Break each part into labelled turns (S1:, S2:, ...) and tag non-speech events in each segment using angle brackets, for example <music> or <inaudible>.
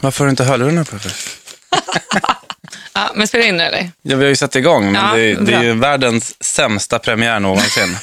S1: Varför har du inte hörlurarna på? för?
S2: Ja, men spelar in nu eller?
S1: Ja, vi har ju satt igång, men
S2: Ja,
S1: det, det är
S2: bra.
S1: ju världens sämsta premiär någonsin.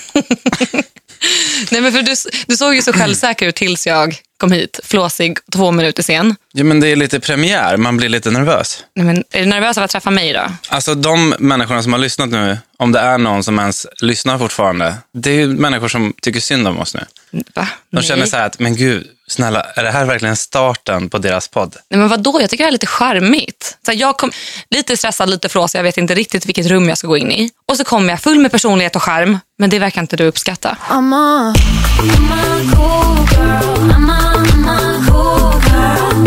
S2: Nej, men för du, du såg ju så självsäker ut tills jag kom hit, flåsig, två minuter sen.
S1: <laughs> ja, men det är lite premiär, man blir lite nervös.
S2: Nej, men är du nervös av att träffa mig då?
S1: Alltså de människorna som har lyssnat nu, om det är någon som ens lyssnar fortfarande, det är ju människor som tycker synd om oss nu.
S2: Va?
S1: De
S2: Nej.
S1: känner så här att, men gud, snälla, är det här verkligen starten på deras podd?
S2: Nej, men vadå? Jag tycker det här är lite charmigt. Så här, jag kom lite stressad, lite flåsig, jag vet inte riktigt vilket rum jag ska gå in i. Och så kommer jag full med personlighet och charm, men det verkar inte du uppskatta.
S3: I'm a
S4: I'm a cool girl. I'm a, I'm a cool girl.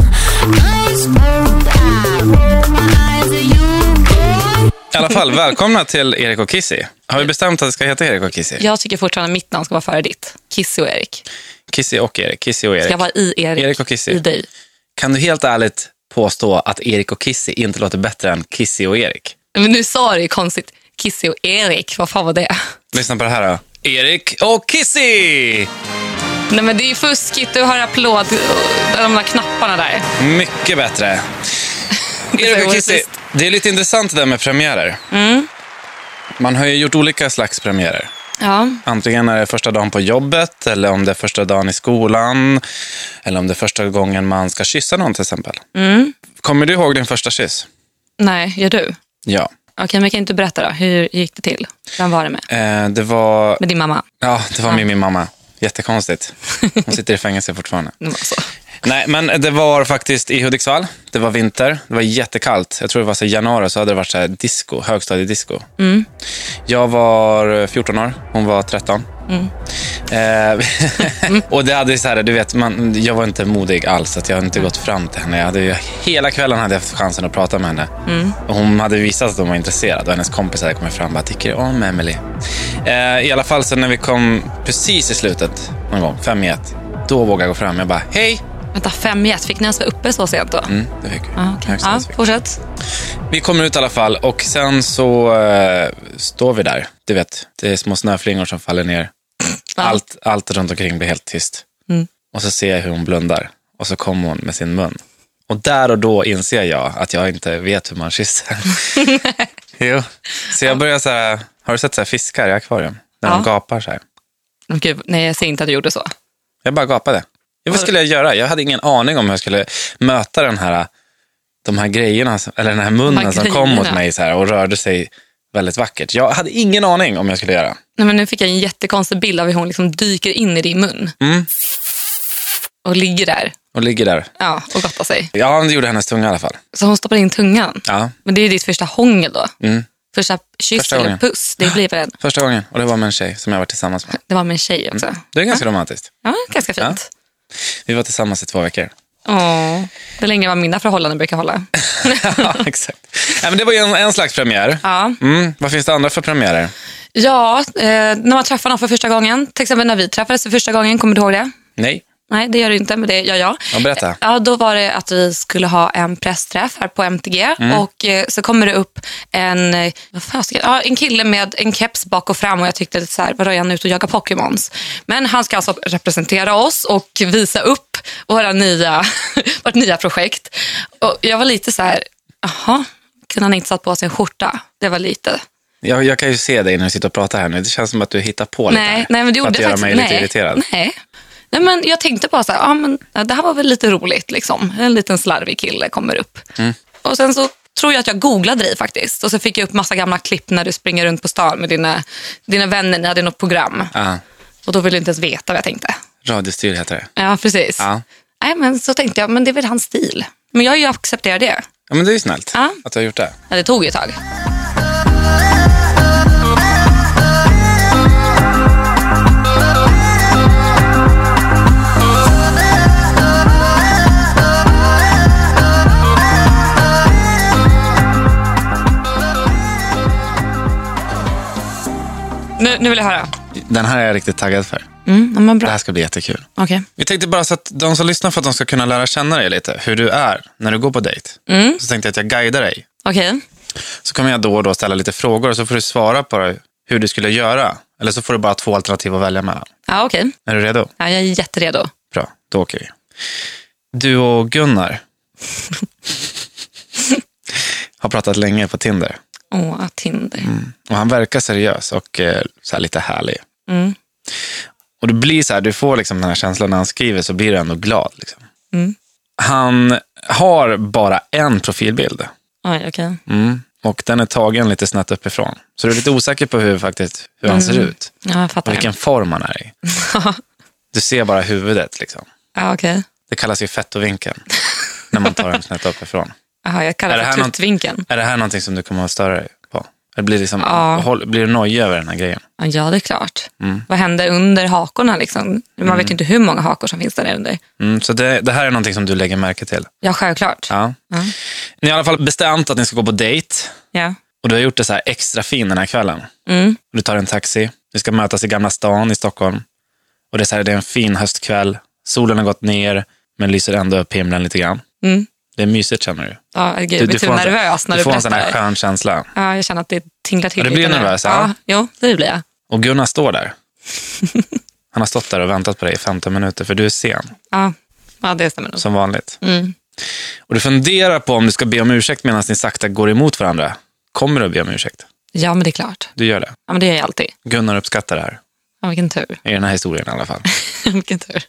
S4: Nice world. I roll my eyes at you, boy.
S1: I alla
S2: <laughs>
S1: fall, välkomna till Erik och Kissy. Har vi bestämt att det ska heta Erik och Kissy?
S2: Jag tycker fortfarande mitt namn ska vara före ditt. Kissy och Erik.
S1: Kissy och Erik, Kissy och
S2: Ska
S1: Erik.
S2: vara i Erik,
S1: Erik och Kissy.
S2: i dig.
S1: Kan du helt ärligt påstå att Erik och Kissy inte låter bättre än Kissy och Erik?
S2: Men nu sa du ju konstigt. Kissy och Erik, vad fan var det?
S1: Lyssna på det här då. Erik och Kissy!
S2: Nej men det är ju fuskigt, du har applåd, de där knapparna där.
S1: Mycket bättre. Erik och Kissy, det är lite intressant det där med premiärer. Man har ju gjort olika slags premiärer.
S2: Ja,
S1: Antingen är det första dagen på jobbet, eller om det är första dagen i skolan, eller om det är första gången man ska kyssa någon till exempel. Kommer du ihåg din första kyss?
S2: nej, gör du?
S1: Ja.
S2: Okej, men kan inte du berätta då? Hur gick det till? Vem var det med?
S1: Eh, det var,
S2: Med din mamma? <laughs>
S1: ja, det var med min mamma. Jättekonstigt. Hon sitter i fängelse fortfarande.
S2: Det var så.
S1: Nej, men det var faktiskt i Hudiksvall. Det var vinter. Det var jättekallt. Jag tror det var så i januari så hade det varit så här disco, högstadiedisco. Jag var 14 år. Hon var 13. Eh, <laughs> och det hade ju så här, du vet, man, jag var inte modig alls. Att jag hade inte gått fram till henne. Jag hade, ju- hela kvällen hade jag haft chansen att prata med henne. Och hon hade visat att hon var intresserad. Och hennes kompisar hade kommit fram och bara, tycker du om Emily? Eh, I alla fall så när vi kom precis i slutet, någon gång, fem i ett. Då vågade jag gå fram. Jag bara, hej!
S2: Vänta, fem i ett. Fick ni ens vara uppe så sent då?
S1: Mm, det fick vi.
S2: Ja, Ah, okej.
S1: Högstadiet
S2: ja,
S1: fick vi.
S2: fortsätt.
S1: Vi kommer ut i alla fall och sen så eh, står vi där. Du vet, det är små snöflingor som faller ner.
S2: Ja. Mm.
S1: Allt, allt runt omkring blir helt tyst. Och så ser jag hur hon blundar och så kommer hon med sin mun. Och där och då inser jag att jag inte vet hur man
S2: <laughs>
S1: kysser. jo. Så jag börjar så här, har du sett så här fiskar i akvarium? När de
S2: Ja.
S1: gapar så här.
S2: Men Gud, nej, jag säger inte att du gjorde så.
S1: Jag bara gapade. Ja, Vad skulle jag göra? Jag hade ingen aning om hur jag skulle möta den här, de här grejerna, som- eller den här munnen
S2: De här
S1: som kom
S2: grejerna.
S1: mot mig så här och rörde sig väldigt vackert. Jag hade ingen aning om jag skulle göra.
S2: Nej, men nu fick jag en jättekonstig bild av hur hon liksom dyker in i din mun.
S1: Mm.
S2: Och ligger där
S1: Och ligger där.
S2: ja, och gottar sig.
S1: Ja, det gjorde hennes tunga i alla fall.
S2: Så hon stoppar in tungan.
S1: Ja,
S2: Men det är ju ditt första hångel då. Första kyss
S1: Mm. Första
S2: eller
S1: gången.
S2: puss. Det blir väl en,
S1: första gången. Och det var med en tjej som jag var tillsammans med.
S2: det var med en tjej också.
S1: Det är ganska romantiskt.
S2: Ja, ganska fint.
S1: Vi var tillsammans i två
S2: <laughs>
S1: veckor.
S2: Åh, det är längre än vad mina förhållanden brukar hålla.
S1: ja, exakt. Nej, men det var ju en, en slags premiär.
S2: Ja.
S1: Mm. Vad finns det andra för premiärer?
S2: Ja, eh, när man träffar någon för första gången. Till exempel när vi träffades för första gången, kommer du ihåg det?
S1: Nej.
S2: Nej, det gör du inte, men det gör jag. Eh,
S1: Ja, berätta.
S2: Ja, då var det att vi skulle ha en pressträff här på MTG
S1: Mm.
S2: och eh, så kommer det upp en, eh, vad fasiken, ja, en kille med en keps bak och fram och jag tyckte lite så här, vadå är han ute och jagar Pokémons? Men han ska alltså representera oss och visa upp våra nya, <laughs> vårt nya projekt. Och jag var lite så här, jaha, kunde han inte satt på sig en skjorta? Det var lite
S1: Jag, jag kan ju se dig när du sitter och pratar här nu. Det känns som att du hittar på lite.
S2: Nej,
S1: här.
S2: nej men det gjorde
S1: För att
S2: jag
S1: göra
S2: faktiskt
S1: mig lite
S2: nej,
S1: irriterad.
S2: Nej. nej, men jag tänkte bara så här, ja, men, ja, det här var väl lite roligt liksom. En liten slarvig kille kommer upp.
S1: Mm.
S2: Och sen så tror jag att jag googlade dig faktiskt. Och så fick jag upp massa gamla klipp när du springer runt på stan med dina, dina vänner, ni hade något program.
S1: Ja.
S2: Och då ville du inte ens veta vad jag tänkte.
S1: Radiostyr heter det.
S2: Ja, precis.
S1: Ja.
S2: Nej, men så tänkte jag, men det är väl hans stil. Men jag har ju accepterat det.
S1: Ja, men det är ju snällt
S2: Ja.
S1: att du har gjort det.
S2: Ja, det tog ju ett tag. Nu, nu vill jag höra.
S1: Den här är jag riktigt taggad för.
S2: Mm, ja, men
S1: Det
S2: bra.
S1: här ska bli jättekul.
S2: Okej.
S1: Vi tänkte bara så att de som lyssnar för att de ska kunna lära känna dig lite, hur du är när du går på dejt. Så tänkte jag att jag guidar dig.
S2: Okej.
S1: Så kommer jag då och då ställa lite frågor och så får du svara på hur du skulle göra. Eller så får du bara två alternativ att välja mellan.
S2: Ja, okej.
S1: Är du redo?
S2: Ja, jag är jätteredo.
S1: Bra, då åker vi. Du och Gunnar, Har pratat länge på Tinder.
S2: Åh, Tinder.
S1: Och han verkar seriös och eh, så här lite härlig.
S2: Mm.
S1: Och det blir så här, du får liksom den här känslan när han skriver så blir du ändå glad. Liksom. Han har bara en profilbild
S2: Oj, okej.
S1: mm. och den är tagen lite snett uppifrån. Så du är lite osäker på hur, faktiskt, hur han ser ut
S2: Ja, jag fattar.
S1: och vilken form han är i. Du ser bara huvudet. Liksom.
S2: Ja, okej.
S1: Det kallas ju fettovinkeln när man tar den snett uppifrån.
S2: Jaha, jag kallar
S1: Är det
S2: det
S1: här
S2: för
S1: någon-
S2: tuttvinkeln.
S1: Är det här någonting som du kommer att störa dig på? Det blir, liksom,
S2: Ja.
S1: håll, blir du nojig över den här grejen?
S2: Ja, Ja, det är klart.
S1: Mm.
S2: Vad händer under hakorna? Liksom? Man vet ju inte hur många hakor som finns där under.
S1: Mm, så det, det här är någonting som du lägger märke till?
S2: Ja, självklart. Ja.
S1: Ja. Ni har i alla fall bestämt att ni ska gå på dejt och du har gjort det så här extra fin den här kvällen.
S2: Mm.
S1: Du tar en taxi, du ska mötas i Gamla stan i Stockholm och det är, så här, det är en fin höstkväll. Solen har gått ner men lyser ändå upp himlen lite grann.
S2: Mm.
S1: Det är mysigt känner du.
S2: Ja, gud,
S1: du,
S2: jag blir typ
S1: en-
S2: nervös när
S1: du
S2: du,
S1: får en sån här
S2: berättar.
S1: skön känsla.
S2: Ja, jag känner att det tinglar till
S1: Ja, du blir
S2: lite nu.
S1: nervös, ja.
S2: Ja, jo, det blir jag.
S1: Och Gunnar står
S2: <laughs>
S1: där. Han har stått där och väntat på dig i 15 minuter för du är sen,
S2: Ja, ja det stämmer nog.
S1: som vanligt.
S2: Mm.
S1: Och du funderar på om du ska be om ursäkt medan ni sakta går emot varandra. Kommer du att be om ursäkt?
S2: Ja, men det är klart.
S1: Du gör det.
S2: Ja, men det gör jag alltid.
S1: Gunnar uppskattar det här.
S2: Ja, vilken tur. <laughs>
S1: I den här historien i alla fall.
S2: vilken tur.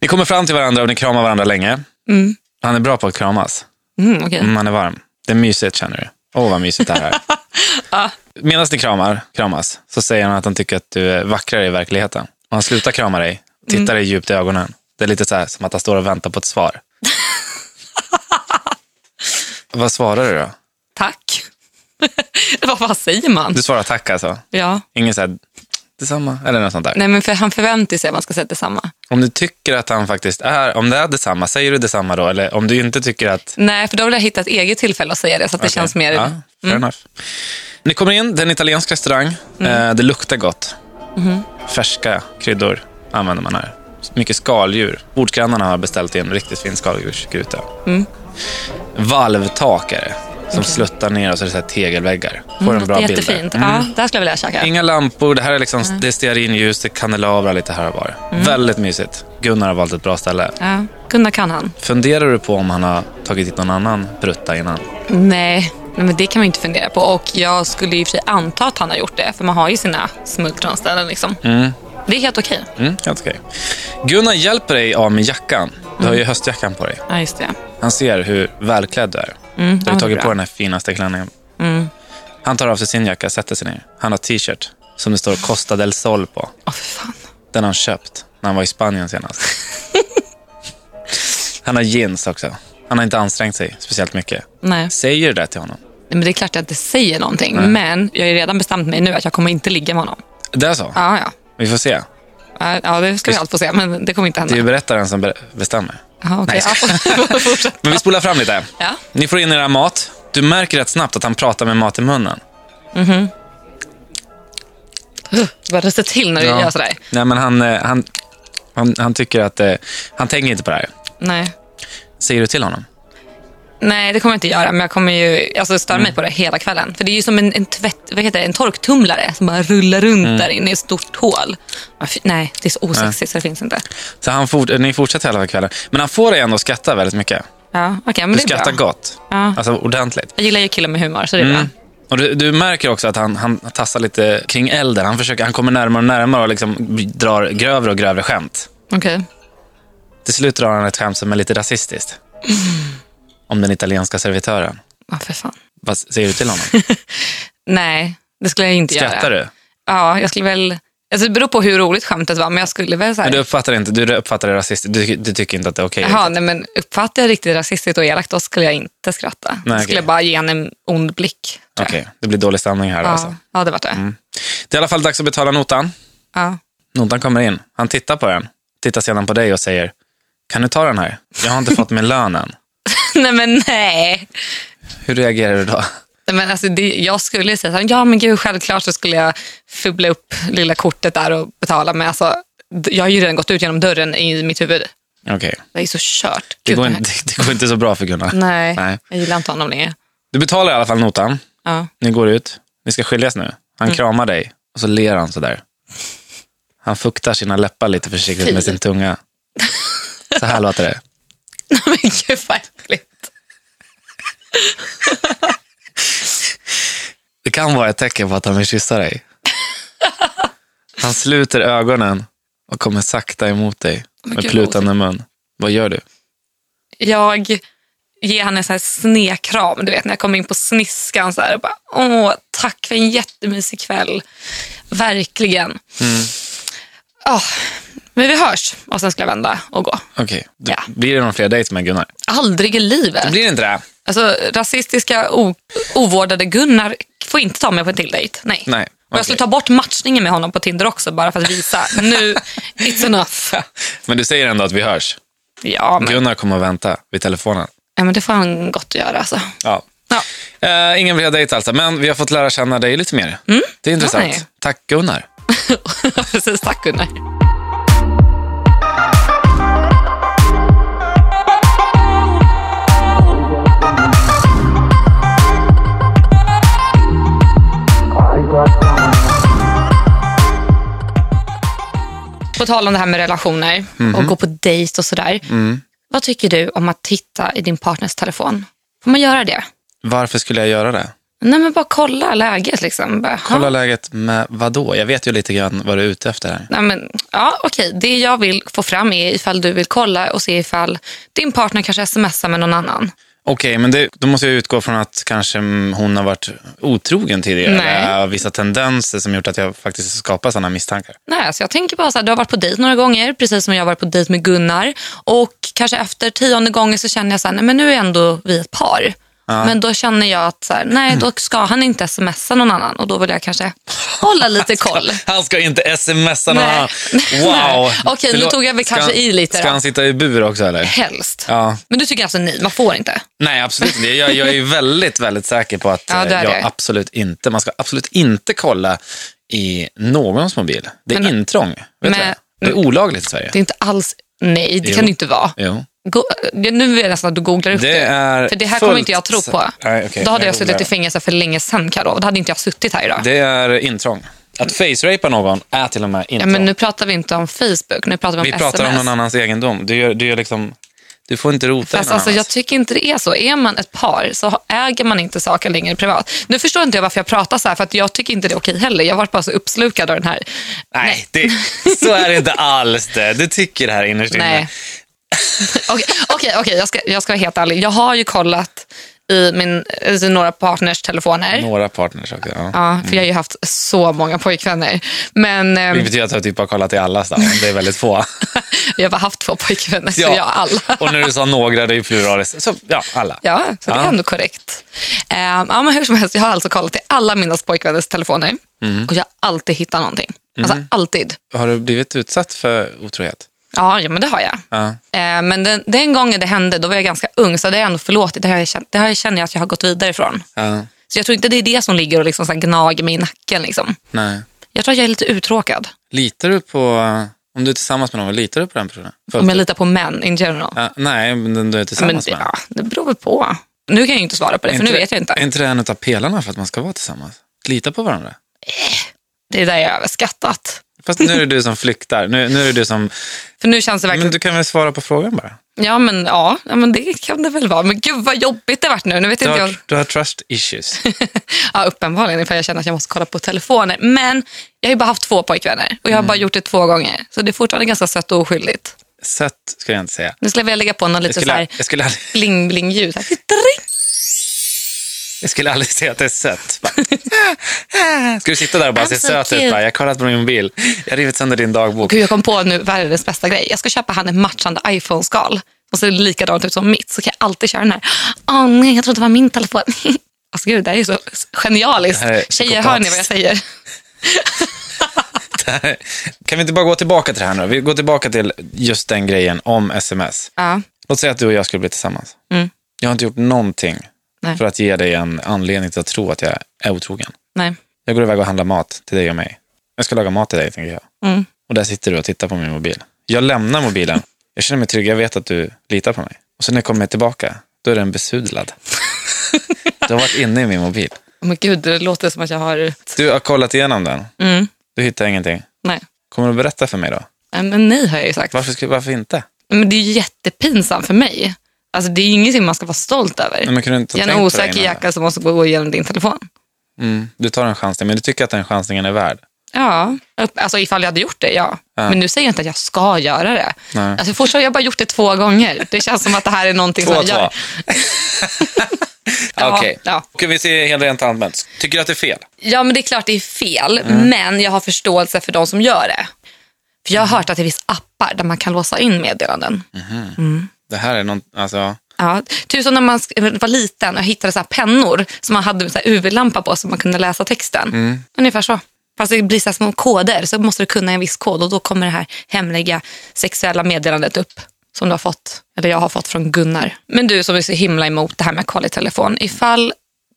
S1: Ni kommer fram till varandra och ni kramar varandra länge.
S2: Mm.
S1: Han är bra på att kramas.
S2: Mm, okej.
S1: Mm, han är varm. Det är mysigt känner du. Åh, vad mysigt det här
S2: <laughs>
S1: är. Medan ni kramar, kramas så säger han att han tycker att du är vackrare i verkligheten. Och han slutar krama dig, tittar dig
S2: Mm.
S1: djupt i ögonen. Det är lite så här som att han står och väntar på ett
S2: <laughs>
S1: svar. vad svarar du då?
S2: Tack. <laughs> vad, vad säger man?
S1: Du svarar tack alltså?
S2: Ja.
S1: Ingen så här, detsamma eller något sånt där?
S2: Nej, men för han förväntar sig att man ska säga detsamma.
S1: Om du tycker att han faktiskt är, om det är detsamma, säger du detsamma då? Eller om du inte tycker att
S2: Nej, för då vill jag hitta ett eget tillfälle att säga det så att det känns mer... Mm.
S1: Ja, fair enough. Ni kommer in, det är en italiensk restaurang.
S2: Mm.
S1: Eh, det luktar gott.
S2: Mm-hmm.
S1: Färska kryddor använder man här. Mycket skaldjur. Bordsgrannarna har beställt in riktigt fin skaldjursgryta.
S2: Mm.
S1: Valvtak är det, som sluttar ner och så är det så här tegelväggar. Får en bra
S2: det är
S1: bild där.
S2: Mm,
S1: Mm.
S2: jättefint. Mm. Ja, det här skulle jag vilja käka.
S1: Inga lampor, det här är liksom, det är stearinljus, det är kandelabrar lite här och var.
S2: Mm.
S1: Väldigt mysigt. Gunnar har valt ett bra ställe.
S2: Ja, Gunnar kan han.
S1: Funderar du på om han har tagit dit någon annan brutta innan?
S2: Nej, nej, men det kan man ju inte fundera på. Och jag skulle i och för sig anta att han har gjort det, för man har ju sina smultronställen. Liksom. Det är helt okej.
S1: Mm, helt okej. Gunnar hjälper dig av med jackan. Du har ju
S2: Mm.
S1: höstjackan på dig.
S2: Ja, just det.
S1: Han ser hur välklädd du är. du
S2: han
S1: har
S2: är
S1: tagit
S2: Mm, bra. Mm.
S1: på den här finaste klänningen. Han tar av sig sin jacka, sätter sig ner. Han har t-shirt som det står Costa del Sol på.
S2: Åh, för fan.
S1: Den har han köpt när han var i Spanien
S2: <laughs>
S1: senast. han har jeans också. Han har inte ansträngt sig speciellt mycket.
S2: Nej.
S1: Säger du det till honom?
S2: men det är klart att jag inte säger någonting. Men jag har ju redan bestämt mig nu att jag kommer inte ligga med honom.
S1: Det är så?
S2: Ja, ja.
S1: Vi får se.
S2: Ja, Ja, det ska vi allt få se, men det kommer inte hända.
S1: Det är ju berättaren som be- bestämmer.
S2: Ja, okej.
S1: Nej,
S2: ja, fortsätt.
S1: Men vi spolar fram lite.
S2: <laughs> Ja.
S1: Ni får in era mat. Du märker rätt snabbt att han pratar med mat i munnen.
S2: Du bara ryser till när du
S1: Ja.
S2: gör sådär.
S1: Nej, men han, eh, han, han, han tycker att... eh, Han tänker inte på det här.
S2: Nej.
S1: Säger du till honom?
S2: Nej, det kommer jag inte göra, men jag kommer ju alltså, störa
S1: Mm.
S2: mig på det hela kvällen. För det är ju som en, en, tvätt, vad heter det, en torktumlare som bara rullar runt
S1: Mm.
S2: där inne i ett stort hål. Ja, fy- Nej, det är så osexigt så det finns inte.
S1: Så han fort, eh, ni fortsätter hela kvällen. Men han får dig ändå att skratta väldigt mycket.
S2: Ja, okej, men
S1: Du
S2: det är
S1: skrattar
S2: bra.
S1: gott.
S2: Ja.
S1: Alltså Mm. ordentligt.
S2: Jag gillar ju killar med humor, så det är bra.
S1: Och du, du märker också att han, han tassar lite kring elden. Han, försöker, han kommer närmare och närmare och liksom drar grövre och grövre skämt.
S2: Okej.
S1: Till slut drar han ett skämt som är lite
S2: <laughs>
S1: rasistiskt. Om den italienska servitören.
S2: Ja, för fan.
S1: Vad säger du
S2: <laughs>
S1: till honom?
S2: Nej, det skulle jag inte
S1: Skrattar
S2: göra.
S1: du?
S2: Ja, jag skulle väl... Alltså, det beror på hur roligt skämtet var, men jag skulle väl
S1: Men
S2: säga...
S1: du uppfattar inte, du uppfattar det rasistiskt. Du, du tycker inte att det är okej.
S2: Jaha, nej men uppfattar jag riktigt rasistiskt och elakt, då skulle jag inte skratta. då skulle
S1: okej.
S2: jag bara ge henne en ond blick. tror jag.
S1: Okej, det blir dålig stämning här. då, Alltså.
S2: Ja, ja, det var det.
S1: Det är i alla fall dags att betala notan.
S2: Ja.
S1: Notan kommer in. Han tittar på den, tittar sedan på dig och säger, kan du ta den här? Jag har inte fått min lön än.
S2: <laughs> nej, men nej.
S1: <laughs> Hur reagerar du då?
S2: Nej, Men alltså det, jag skulle ju säga så här, ja men gud självklart så skulle jag fubbla upp lilla kortet där och betala. Men alltså, d- jag har ju redan gått ut genom dörren i mitt huvud.
S1: Okej,
S2: Det är så kört.
S1: det,
S2: Gud,
S1: går
S2: det
S1: inte- det går inte så bra för Gunnar.
S2: här- Nej,
S1: Nej.
S2: jag gillar inte honom längre.
S1: Du betalar i alla fall notan.
S2: Ja. <laughs>
S1: Ni går ut. Ni ska skiljas nu. Han kramar dig och så ler han sådär. Han fuktar sina läppar lite försiktigt med sin tunga. Så här låter det.
S2: Men gud vad äckligt.
S1: Det kan vara ett tecken på att han vill kyssa dig. Han sluter ögonen och kommer sakta emot dig med
S2: gud,
S1: plutande mun. Vad gör du?
S2: Jag ger han en sån här snekram, du vet när jag kommer in på sniskan så här och bara, åh, tack för en jättemysig kväll. Verkligen.
S1: Mm.
S2: Ah, men vi hörs och sen ska jag vända och gå.
S1: Okej, du-
S2: Ja.
S1: blir det någon fler dejt med Gunnar?
S2: Aldrig i livet.
S1: Det blir inte det. <laughs>
S2: Alltså rasistiska, o- ovårdade Gunnar får inte ta mig på en till dejt. Nej.
S1: Nej,
S2: Och
S1: okej.
S2: jag skulle ta bort matchningen med honom på Tinder också bara för att visa. nu,
S1: <laughs>
S2: it's enough.
S1: Men du säger ändå att vi hörs.
S2: Ja, men,
S1: Gunnar kommer att vänta vid telefonen.
S2: ja, men det får han gott att göra alltså.
S1: Ja.
S2: Ja.
S1: Eh, ingen fler dejt alltså, men vi har fått lära känna dig lite mer.
S2: Mm.
S1: Det är intressant.
S2: Nej.
S1: Tack Gunnar.
S2: Precis, tack Gunnar. På tal om det här med relationer och gå på dejt och sådär. Vad tycker du om att titta i din partners telefon? Får man göra det?
S1: Varför skulle jag göra det?
S2: Nej men bara kolla läget liksom. Bara,
S1: Kolla
S2: "Ha?"
S1: läget med vadå? Jag vet ju lite grann vad du är ute efter här.
S2: Nej, men, ja, okej. Det jag vill få fram är ifall du vill kolla och se ifall din partner kanske smsar med någon annan.
S1: Okej, men det, då måste jag utgå från att kanske mm, hon har varit otrogen tidigare.
S2: Nej.
S1: Eller har vissa tendenser som gjort att jag faktiskt skapar sådana misstankar.
S2: Nej, så jag tänker bara så här, du har varit på dejt några gånger, precis som jag har varit på dejt med Gunnar. Och kanske efter tionde gången så känner jag så här, nej men nu är ändå vi ett par. Men då känner jag att så här, nej, då ska han inte smsa någon annan och då vill jag kanske
S1: <laughs>
S2: hålla lite koll.
S1: Han ska inte smsa någon
S2: Nej.
S1: annan.
S2: Nej.
S1: <laughs> Wow.
S2: Okej, nu
S1: Förlåt.
S2: tog jag väl
S1: Ska
S2: kanske
S1: han-
S2: i lite då.
S1: Ska han sitta i bur också eller?
S2: Helst.
S1: Ja.
S2: Men du tycker alltså nej, man får inte?
S1: Nej, absolut inte. Jag, jag är ju väldigt, väldigt säker på att
S2: Ja,
S1: eh,
S2: det är
S1: jag
S2: det.
S1: absolut inte, man ska absolut inte kolla i någons mobil. Det är
S2: Men-
S1: intrång. Vet du
S2: Men-
S1: det? det är olagligt i Sverige.
S2: Det är inte alls, nej det
S1: Jo.
S2: kan det inte vara.
S1: Jo.
S2: Go- nu är det nästan att du googlar upp
S1: Det
S2: det.
S1: är
S2: för det här
S1: Eh, fullt-
S2: kommer inte jag tro på.
S1: Nej, okej,
S2: Då hade
S1: jag
S2: jag suttit
S1: googlar.
S2: i fängelse för länge sedan, Karo. Då hade inte jag suttit här idag.
S1: Det är intrång. Att face-rapa någon är till och med
S2: ja,
S1: intrång.
S2: men nu pratar vi inte om Facebook, nu pratar vi om
S1: Vi
S2: SMS.
S1: pratar om någon annans egendom. Du, gör, du, gör liksom, du får inte rota i
S2: Fast
S1: någon
S2: alltså, jag
S1: annans.
S2: tycker inte det är så. Är man ett par så äger man inte saker längre privat. Nu förstår inte jag varför jag pratar så här, för att jag tycker inte det är okej heller. Jag har varit bara så uppslukad av den här.
S1: Nej, det, så är det inte alls det. Du tycker det här innerst inne.
S2: Nej. <laughs> Okej, okej, okej, jag, ska, jag ska vara helt ärlig. Jag har ju kollat i, min, i några partners telefoner.
S1: Några partners också. Ja.
S2: Ja, för jag har ju haft så många pojkvänner. Men ehm,
S1: Det betyder att jag typ har kollat i allas. Då. Det är väldigt
S2: <laughs>
S1: få.
S2: jag har bara haft två pojkvänner, så
S1: Ja.
S2: jag har alla.
S1: Och när du sa några, det är ju pluralis. Så, ja, alla.
S2: <laughs> Ja, så det
S1: Ja.
S2: är ändå korrekt. Ehm, ja, men hur som helst, jag har alltså kollat i alla mina pojkvänners telefoner
S1: Mm.
S2: och jag har alltid hittat någonting. Alltså alltid.
S1: Har du blivit utsatt för otrohet?
S2: Ja, ja, men det har jag.
S1: Ja.
S2: Ehm, men den, den gången det hände, då var jag ganska ung, så det har jag ändå förlåtit. Det, har jag känt, det här känner jag att jag har gått vidare ifrån.
S1: Ja.
S2: Så jag tror inte det är det som ligger och liksom så här gnager mig i nacken. Liksom.
S1: Nej.
S2: Jag tror att jag är lite uttråkad.
S1: Litar du på... Om du är tillsammans med någon, litar du på den personen? Följt-
S2: Om jag litar på män in general.
S1: Ja, nej, men den du är
S2: men det,
S1: tillsammans med.
S2: ja, det beror väl på. Nu kan jag ju inte svara på det,
S1: Är
S2: för Alltså, nu
S1: det-
S2: vet jag inte.
S1: Är inte det en av pelarna för att man ska vara tillsammans? Lita på varandra.
S2: Det är där jag är överskattat.
S1: Fast nu är det du som flyktar. Nu, nu är det du som...
S2: För nu känns det verkligen...
S1: Men du kan väl svara på frågan bara?
S2: Ja, men ja, ja, men det kan det väl vara. Men gud vad jobbigt det varit nu. Nu vet
S1: Du
S2: inte
S1: har,
S2: jag. <laughs>
S1: du har trust issues.
S2: Ja, uppenbarligen, för jag känner att jag måste kolla på telefoner. Men jag har ju bara haft två pojkvänner och jag har
S1: Mm.
S2: bara gjort det två gånger. Så det är fortfarande ganska sött och oskyldigt.
S1: Sött skulle jag inte säga.
S2: Nu skulle jag vilja lägga på någon
S1: Jag
S2: lite så
S1: skulle,
S2: här
S1: jag, skulle aldrig,
S2: bling-bling-ljud. Så här,
S1: jag skulle aldrig säga att det är sött. Bara, "Ah, Ska du sitta där och bara
S2: I'm
S1: se
S2: so
S1: söt ut?
S2: cute.
S1: Bara, jag har kollat på min mobil. Jag har rivit sönder din dagbok.
S2: Gud, jag kom på nu världens bästa grej. Jag ska köpa han ett matchande iPhone-skal och ser likadant ut som mitt. Så kan jag alltid köra den här. Åh nej, jag trodde det var min telefon. <laughs> Alltså gud, det här är ju så genialiskt.
S1: Det här är
S2: Tjejer, hör ni vad jag säger?
S1: <laughs> Kan vi inte bara gå tillbaka till det här nu? Vi går tillbaka till just den grejen om sms.
S2: Ja.
S1: Låt säga att du och jag skulle bli tillsammans. Jag har inte gjort någonting
S2: Mm. Nej.
S1: för att ge dig en anledning till att tro att jag är otrogen.
S2: Nej.
S1: Jag går iväg och handlar mat till dig och mig. Jag ska laga mat till dig, tänker jag.
S2: Mm.
S1: Och där sitter du och tittar på min mobil. Jag lämnar mobilen. Jag känner mig trygg. Jag vet att du litar på mig. Och sen när jag kommer tillbaka, då är den besudlad. du har varit inne i min mobil.
S2: Men gud, det låter som att jag har...
S1: Du har kollat igenom den.
S2: Mm.
S1: Du hittar ingenting.
S2: Nej.
S1: Kommer du berätta för mig då?
S2: Nej, Men nej har jag ju sagt.
S1: Varför, skulle, varför inte?
S2: Men det är ju jättepinsamt för mig. Alltså det är ju ingenting man ska vara stolt över.
S1: Nej, men kunde du inte ha
S2: jag är
S1: tänkt
S2: en
S1: på det
S2: osäker
S1: innan?
S2: jacka som måste gå igenom din telefon.
S1: Mm, du tar en chansning, men du tycker att den chansningen är värd.
S2: Ja, upp- alltså ifall jag hade gjort det, ja.
S1: Ja.
S2: Men nu säger jag inte att jag ska göra det.
S1: Nej.
S2: Alltså fortfarande, jag har bara gjort det två gånger. Det känns som att det här är någonting
S1: Två
S2: som
S1: och
S2: jag
S1: två.
S2: gör. <laughs> Ja,
S1: Okej.
S2: ja.
S1: Okej, vi ser helt rent allmänt. Tycker du att det är fel?
S2: Ja, men det är klart det är fel,
S1: Mm.
S2: men jag har förståelse för de som gör det. För jag har hört att det finns appar där man kan låsa in meddelanden.
S1: Det här är någon, alltså,
S2: Ja, typ som när man sk- var liten och hittade så här pennor som man hade med så här UV-lampa på så man kunde läsa texten.
S1: Mm.
S2: Ungefär så. Fast det blir så här små koder så måste du kunna en viss kod och då kommer det här hemliga sexuella meddelandet upp som du har fått, eller jag har fått från Gunnar. Men du som är så himla emot det här med att kolla i telefon. Ifall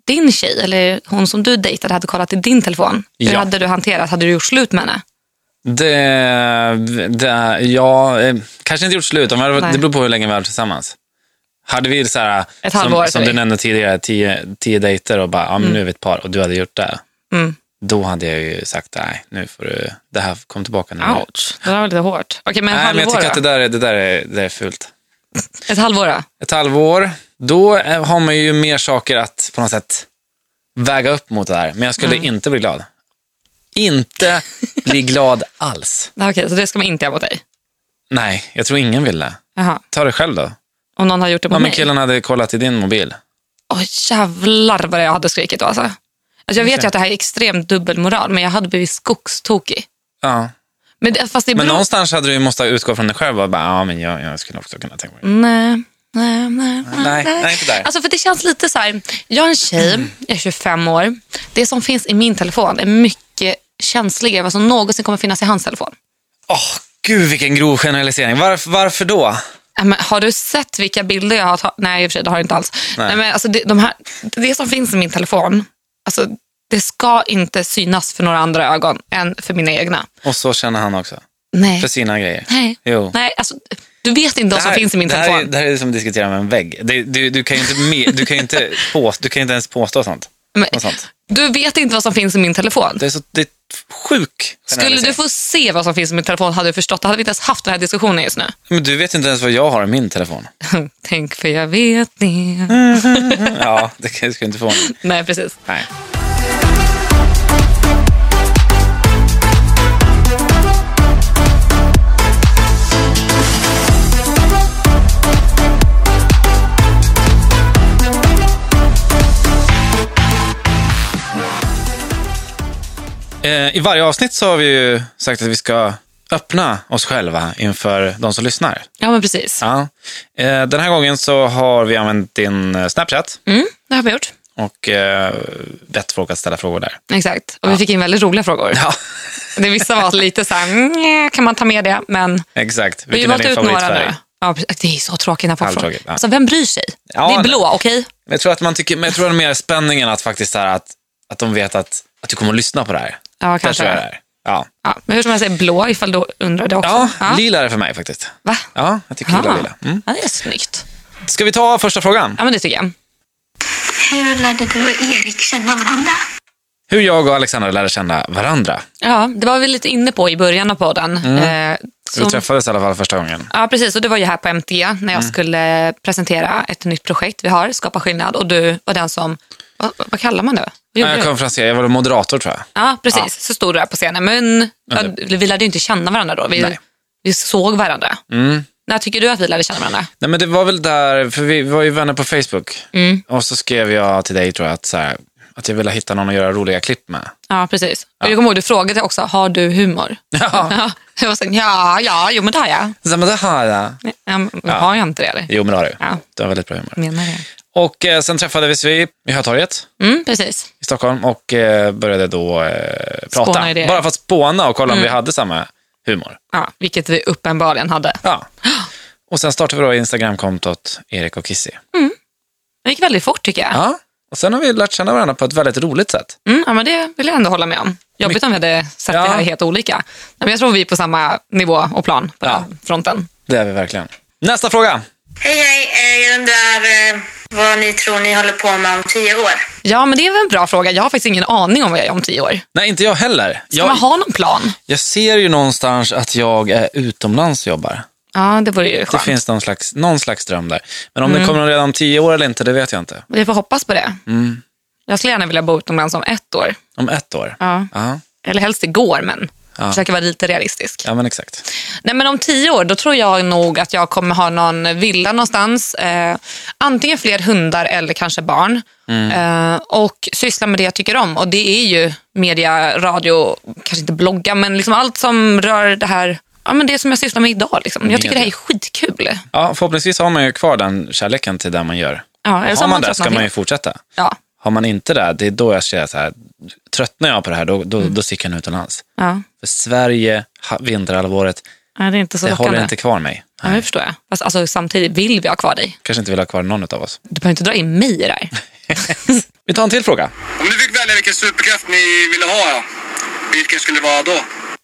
S2: din tjej eller hon som du dejtade hade kollat i din telefon, hur
S1: Ja.
S2: hade du hanterat? Hade du gjort slut med henne?
S1: det, det, ja, eh, kanske inte gjort slut, om vi hade,
S2: Nej.
S1: det beror på hur länge vi har varit tillsammans. Hade vi så här,
S2: Ett halvår Mm.
S1: som,
S2: för
S1: som du
S2: dig.
S1: nämnde tidigare, tio, tio dejter och bara, ja, men nu är vi ett par och du hade gjort det.
S2: Mm.
S1: Då hade jag ju sagt, nej, nu får du, det här, kom tillbaka nu.
S2: Ouch, det där var lite hårt. Okej,
S1: Nej,
S2: men ett
S1: men jag
S2: halvår
S1: tycker
S2: då?
S1: att det där, är- det där är, det där är fult.
S2: Ett halvår då?
S1: ett halvår, då eh, har man ju mer saker att på något sätt väga upp mot det här. Men jag skulle inte bli glad. Inte bli glad alls.
S2: Nej, Okej, så det ska man inte göra mot dig?
S1: Nej, jag tror ingen vill det.
S2: Jaha.
S1: Ta det själv då.
S2: Om någon har gjort det mot
S1: Om
S2: mig?
S1: killen hade kollat i din mobil.
S2: Åh jävlar vad jag hade skrikit då alltså. alltså jag vet ju att det här är extremt dubbelmoral, men jag hade blivit skogstokig.
S1: Ja.
S2: Men, det- fast det
S1: Men
S2: beror...
S1: någonstans hade du ju måste utgå från dig själv och bara, ja men jag, jag skulle också kunna tänka mig det.
S2: Nej, nej, nej.
S1: Nej, nej, inte där. Mm.
S2: Alltså för det känns lite så här, jag är en tjej, jag är 25 år. Det som finns i min telefon är mycket känsligare än vad som någonsin kommer finnas i hans telefon.
S1: Åh, gud vilken grov generalisering. Varf, varför då?
S2: Ja, Men har du sett vilka bilder jag har tagit? Nej, i och för sig, det har jag inte alls. Nej.
S1: Nej.
S2: men alltså det, de här, det som finns i min telefon, alltså, det ska inte synas för några andra ögon än för mina egna.
S1: Och så känner han också.
S2: Nej.
S1: För sina grejer.
S2: Nej.
S1: Jo.
S2: Nej, alltså, du vet inte vad som finns i min
S1: det här,
S2: telefon.
S1: är- Det här är som att diskutera med en vägg. Det, du, du, kan ju inte med, du, kan ju
S2: <laughs>
S1: inte på, du kan ju inte ens påstå sånt.
S2: Men-
S1: Något sånt.
S2: Du vet inte vad som finns i min telefon.
S1: Det är så det är sjuk
S2: Skulle du
S1: generalisering.
S2: få se vad som finns i min telefon hade du förstått. Då hade vi inte ens haft den här diskussionen just nu. <laughs>
S1: Men du vet inte ens vad jag har i min telefon.
S2: Tänk för jag vet det.
S1: Mm. Ja, det kan- det ska inte få mig.
S2: Nej, precis.
S1: Nej. Eh, I varje avsnitt så har vi ju sagt att vi ska öppna oss själva inför de som lyssnar.
S2: Ja, men precis.
S1: Ja. Eh, Den här gången så har vi använt din eh, Snapchat
S2: Mm, det har vi gjort.
S1: och eh, bett folk att ställa frågor där.
S2: Exakt. Och vi fick in väldigt roliga frågor.
S1: <laughs> Ja,
S2: Det vissa var lite så här, "Mm, kan man ta med det? Men
S1: exakt.
S2: vi har
S1: Vilken är
S2: valt
S1: din
S2: ut några
S1: favoritfärg?
S2: nu. Ja, precis. det är så tråkigt när folk frågar.
S1: Halvtråkigt, ja.
S2: Alltså, vem bryr sig?
S1: Ja,
S2: det är
S1: nej.
S2: blå, okej?
S1: Men jag tror att man tycker, men jag tror att det är mer spänningen att faktiskt så här att, att de vet att, att du kommer att lyssna på det här.
S2: Ja,
S1: Där tror
S2: kanske.
S1: jag det är. Ja.
S2: Ja, men hur som helst, är blå ifall du undrar det också.
S1: Ja, lila är det för mig faktiskt.
S2: Va?
S1: Ja, jag tycker
S2: Ja.
S1: lila är lila. Mm.
S2: Ja, det är snyggt.
S1: Ska vi ta första frågan?
S2: Ja, men det tycker jag.
S3: Hur lärde du och Erik känna varandra?
S1: Hur jag och Alexandra lärde känna varandra.
S2: Ja, det var vi lite inne på i början av podden. Eh,
S1: Vi
S2: som,
S1: träffades i alla fall första gången.
S2: ja, precis. Och det var ju här på MTG när jag
S1: Mm.
S2: skulle presentera ett nytt projekt vi har, Skapa skillnad. Och du var den som, vad, vad kallar man det? Vad gjorde
S1: Jag
S2: du?
S1: kom från Sverige, jag var moderator tror jag.
S2: Ja, precis. Så stod du där på scenen. Men ja, vi lärde ju inte känna varandra då. Vi,
S1: Nej.
S2: vi såg varandra. När tycker du att vi lärde känna varandra?
S1: Nej, men det var väl där, för vi var ju vänner på Facebook.
S2: Mm.
S1: Och så skrev jag till dig tror jag att, så här, att jag ville hitta någon att göra roliga klipp med.
S2: Ja, precis. Och jag kommer ihåg, du frågade också, har du humor?
S1: Ja,
S2: <laughs> Ja, jag var så, här, ja, ja, jo men det har jag.
S1: så, men det har jag.
S2: Ja, men, Har jag inte det eller?
S1: Jo, men det har du.
S2: Ja.
S1: Du har väldigt bra humor.
S2: Menar det.
S1: Och eh, sen träffades vi i Hötorget
S2: Mm, precis.
S1: i Stockholm och eh, började då eh, prata.
S2: Spåna idéer. Mm.
S1: Bara för att spåna och kolla om vi hade samma humor.
S2: Ja, vilket vi uppenbarligen hade. <gasps>
S1: Ja. Och sen startade vi då Instagramkontot Erik och Kissy.
S2: Det gick väldigt fort tycker jag.
S1: Ja. Och sen har vi lärt känna varandra på ett väldigt roligt sätt.
S2: Mm, ja, men det vill jag ändå hålla med om. Jobbigt om vi hade sett
S1: Ja.
S2: det här helt olika. Nej, men jag tror vi är på samma nivå och plan på den här fronten.
S1: Det är vi verkligen. Nästa fråga.
S3: Hej, hej. eh, Jag undrar eh, vad ni tror ni håller på med om tio år?
S2: Ja, men det är väl en bra fråga. Jag har faktiskt ingen aning om vad jag gör om tio år. Ska
S1: Nej, inte jag heller.
S2: man
S1: Jag,
S2: ha någon plan?
S1: jag ser ju någonstans att jag är utomlands och jobbar.
S2: Ja, det vore ju
S1: Det
S2: skönt.
S1: finns någon slags, någon slags dröm där. Men om
S2: Mm.
S1: det kommer redan om tio år eller inte, det vet jag inte.
S2: Vi får hoppas på det.
S1: Mm.
S2: Jag skulle gärna vilja bo utomlands om ett år.
S1: Om ett år?
S2: Ja.
S1: Ja,
S2: Eller helst igår, men försöka vara lite realistisk.
S1: ja men exakt.
S2: Nej, men om tio år då tror jag nog att jag kommer ha någon villa någonstans. Eh, antingen fler hundar eller kanske barn.
S1: Mm.
S2: Eh, och syssla med det jag tycker om. Och det är ju media, radio, kanske inte blogga, men liksom allt som rör det här. Ja, men det som jag sysslar med idag. Liksom. Jag tycker det här är skitkul.
S1: Ja, förhoppningsvis har man ju kvar den kärleken till det man gör.
S2: Ja, eller
S1: har
S2: så har
S1: man
S2: man
S1: det ska
S2: tröttnat
S1: man ju
S2: helt.
S1: fortsätta.
S2: Ja,
S1: Har man inte det, det är då jag känner så här, tröttnar jag på det här, då, då,
S2: Mm.
S1: då sticker jag utomlands.
S2: ja.
S1: För Sverige, ha- vinterhalvåret,
S2: Nej, det är inte så
S1: det
S2: lockande.
S1: håller inte kvar mig.
S2: Ja, det förstår jag. Fast alltså, samtidigt vill vi ha kvar dig.
S1: Kanske inte vill ha kvar någon av oss.
S2: Du behöver inte dra in mig i det här.
S1: Vi tar en till fråga.
S5: Om ni fick välja vilken superkraft ni ville ha, vilken skulle det vara då?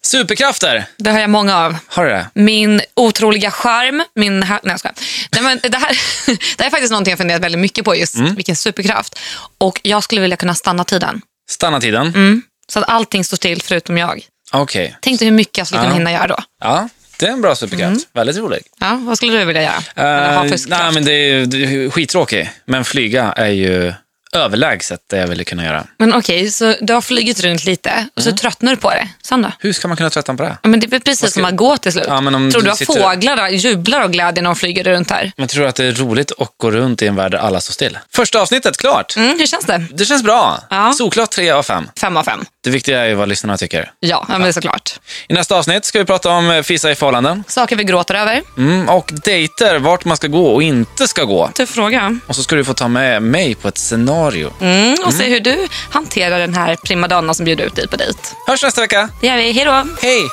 S1: Superkrafter!
S2: Det har jag många av.
S1: Har du det?
S2: Min otroliga charm, min... Ha- Nej, jag skojar. Nej, men det, här, <laughs> det här är faktiskt någonting jag funderat väldigt mycket på, just
S1: Mm.
S2: vilken superkraft. Och jag skulle vilja kunna stanna tiden.
S1: Stanna tiden.
S2: Mm. Så att allting står still förutom jag.
S1: Okej.
S2: Tänk dig hur mycket jag skulle kunna
S1: Ja.
S2: hinna göra då.
S1: Ja, det är en bra superkraft.
S2: Mm.
S1: Väldigt rolig.
S2: Ja, vad skulle du vilja göra? Eller
S1: Uh,
S2: ha för
S1: nej,
S2: superkraft?
S1: men det är ju det är ju skittråkig. Men flyga är ju överlägset det jag ville kunna göra.
S2: Men okej, så du har flugit runt lite
S1: Mm.
S2: och så tröttnar du på det. Sen då?
S1: Hur ska man kunna tröttna på det?
S2: Ja, men det är väl precis som att gå till slut.
S1: Ja, men om
S2: Tror
S1: du
S2: du att
S1: sitter-
S2: fåglarna jublar av glädje när de flyger runt här?
S1: Man tror att det är roligt att gå runt i en värld där alla står still. Första avsnittet, klart!
S2: Mm, hur känns det?
S1: Det känns bra.
S2: Ja.
S1: Solklart tre av fem.
S2: Fem av fem.
S1: Det viktiga är ju vad lyssnarna tycker.
S2: Ja, ja. Men såklart.
S1: I nästa avsnitt ska vi prata om eh, fisa i förhållanden.
S2: Saker vi gråter över.
S1: Mm, och dejter, vart man ska gå och inte ska gå.
S2: Tuff fråga.
S1: Och så ska du få ta med mig på ett scenario.
S2: Mm, och se hur du hanterar den här primadonna som bjuder ut dig på dejt.
S1: Hörs nästa vecka.
S2: Det gör vi. Hej då!
S1: Hej!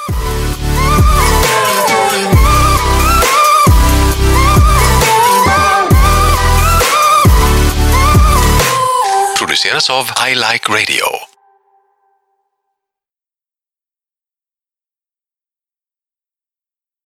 S6: produceras av I Like Radio.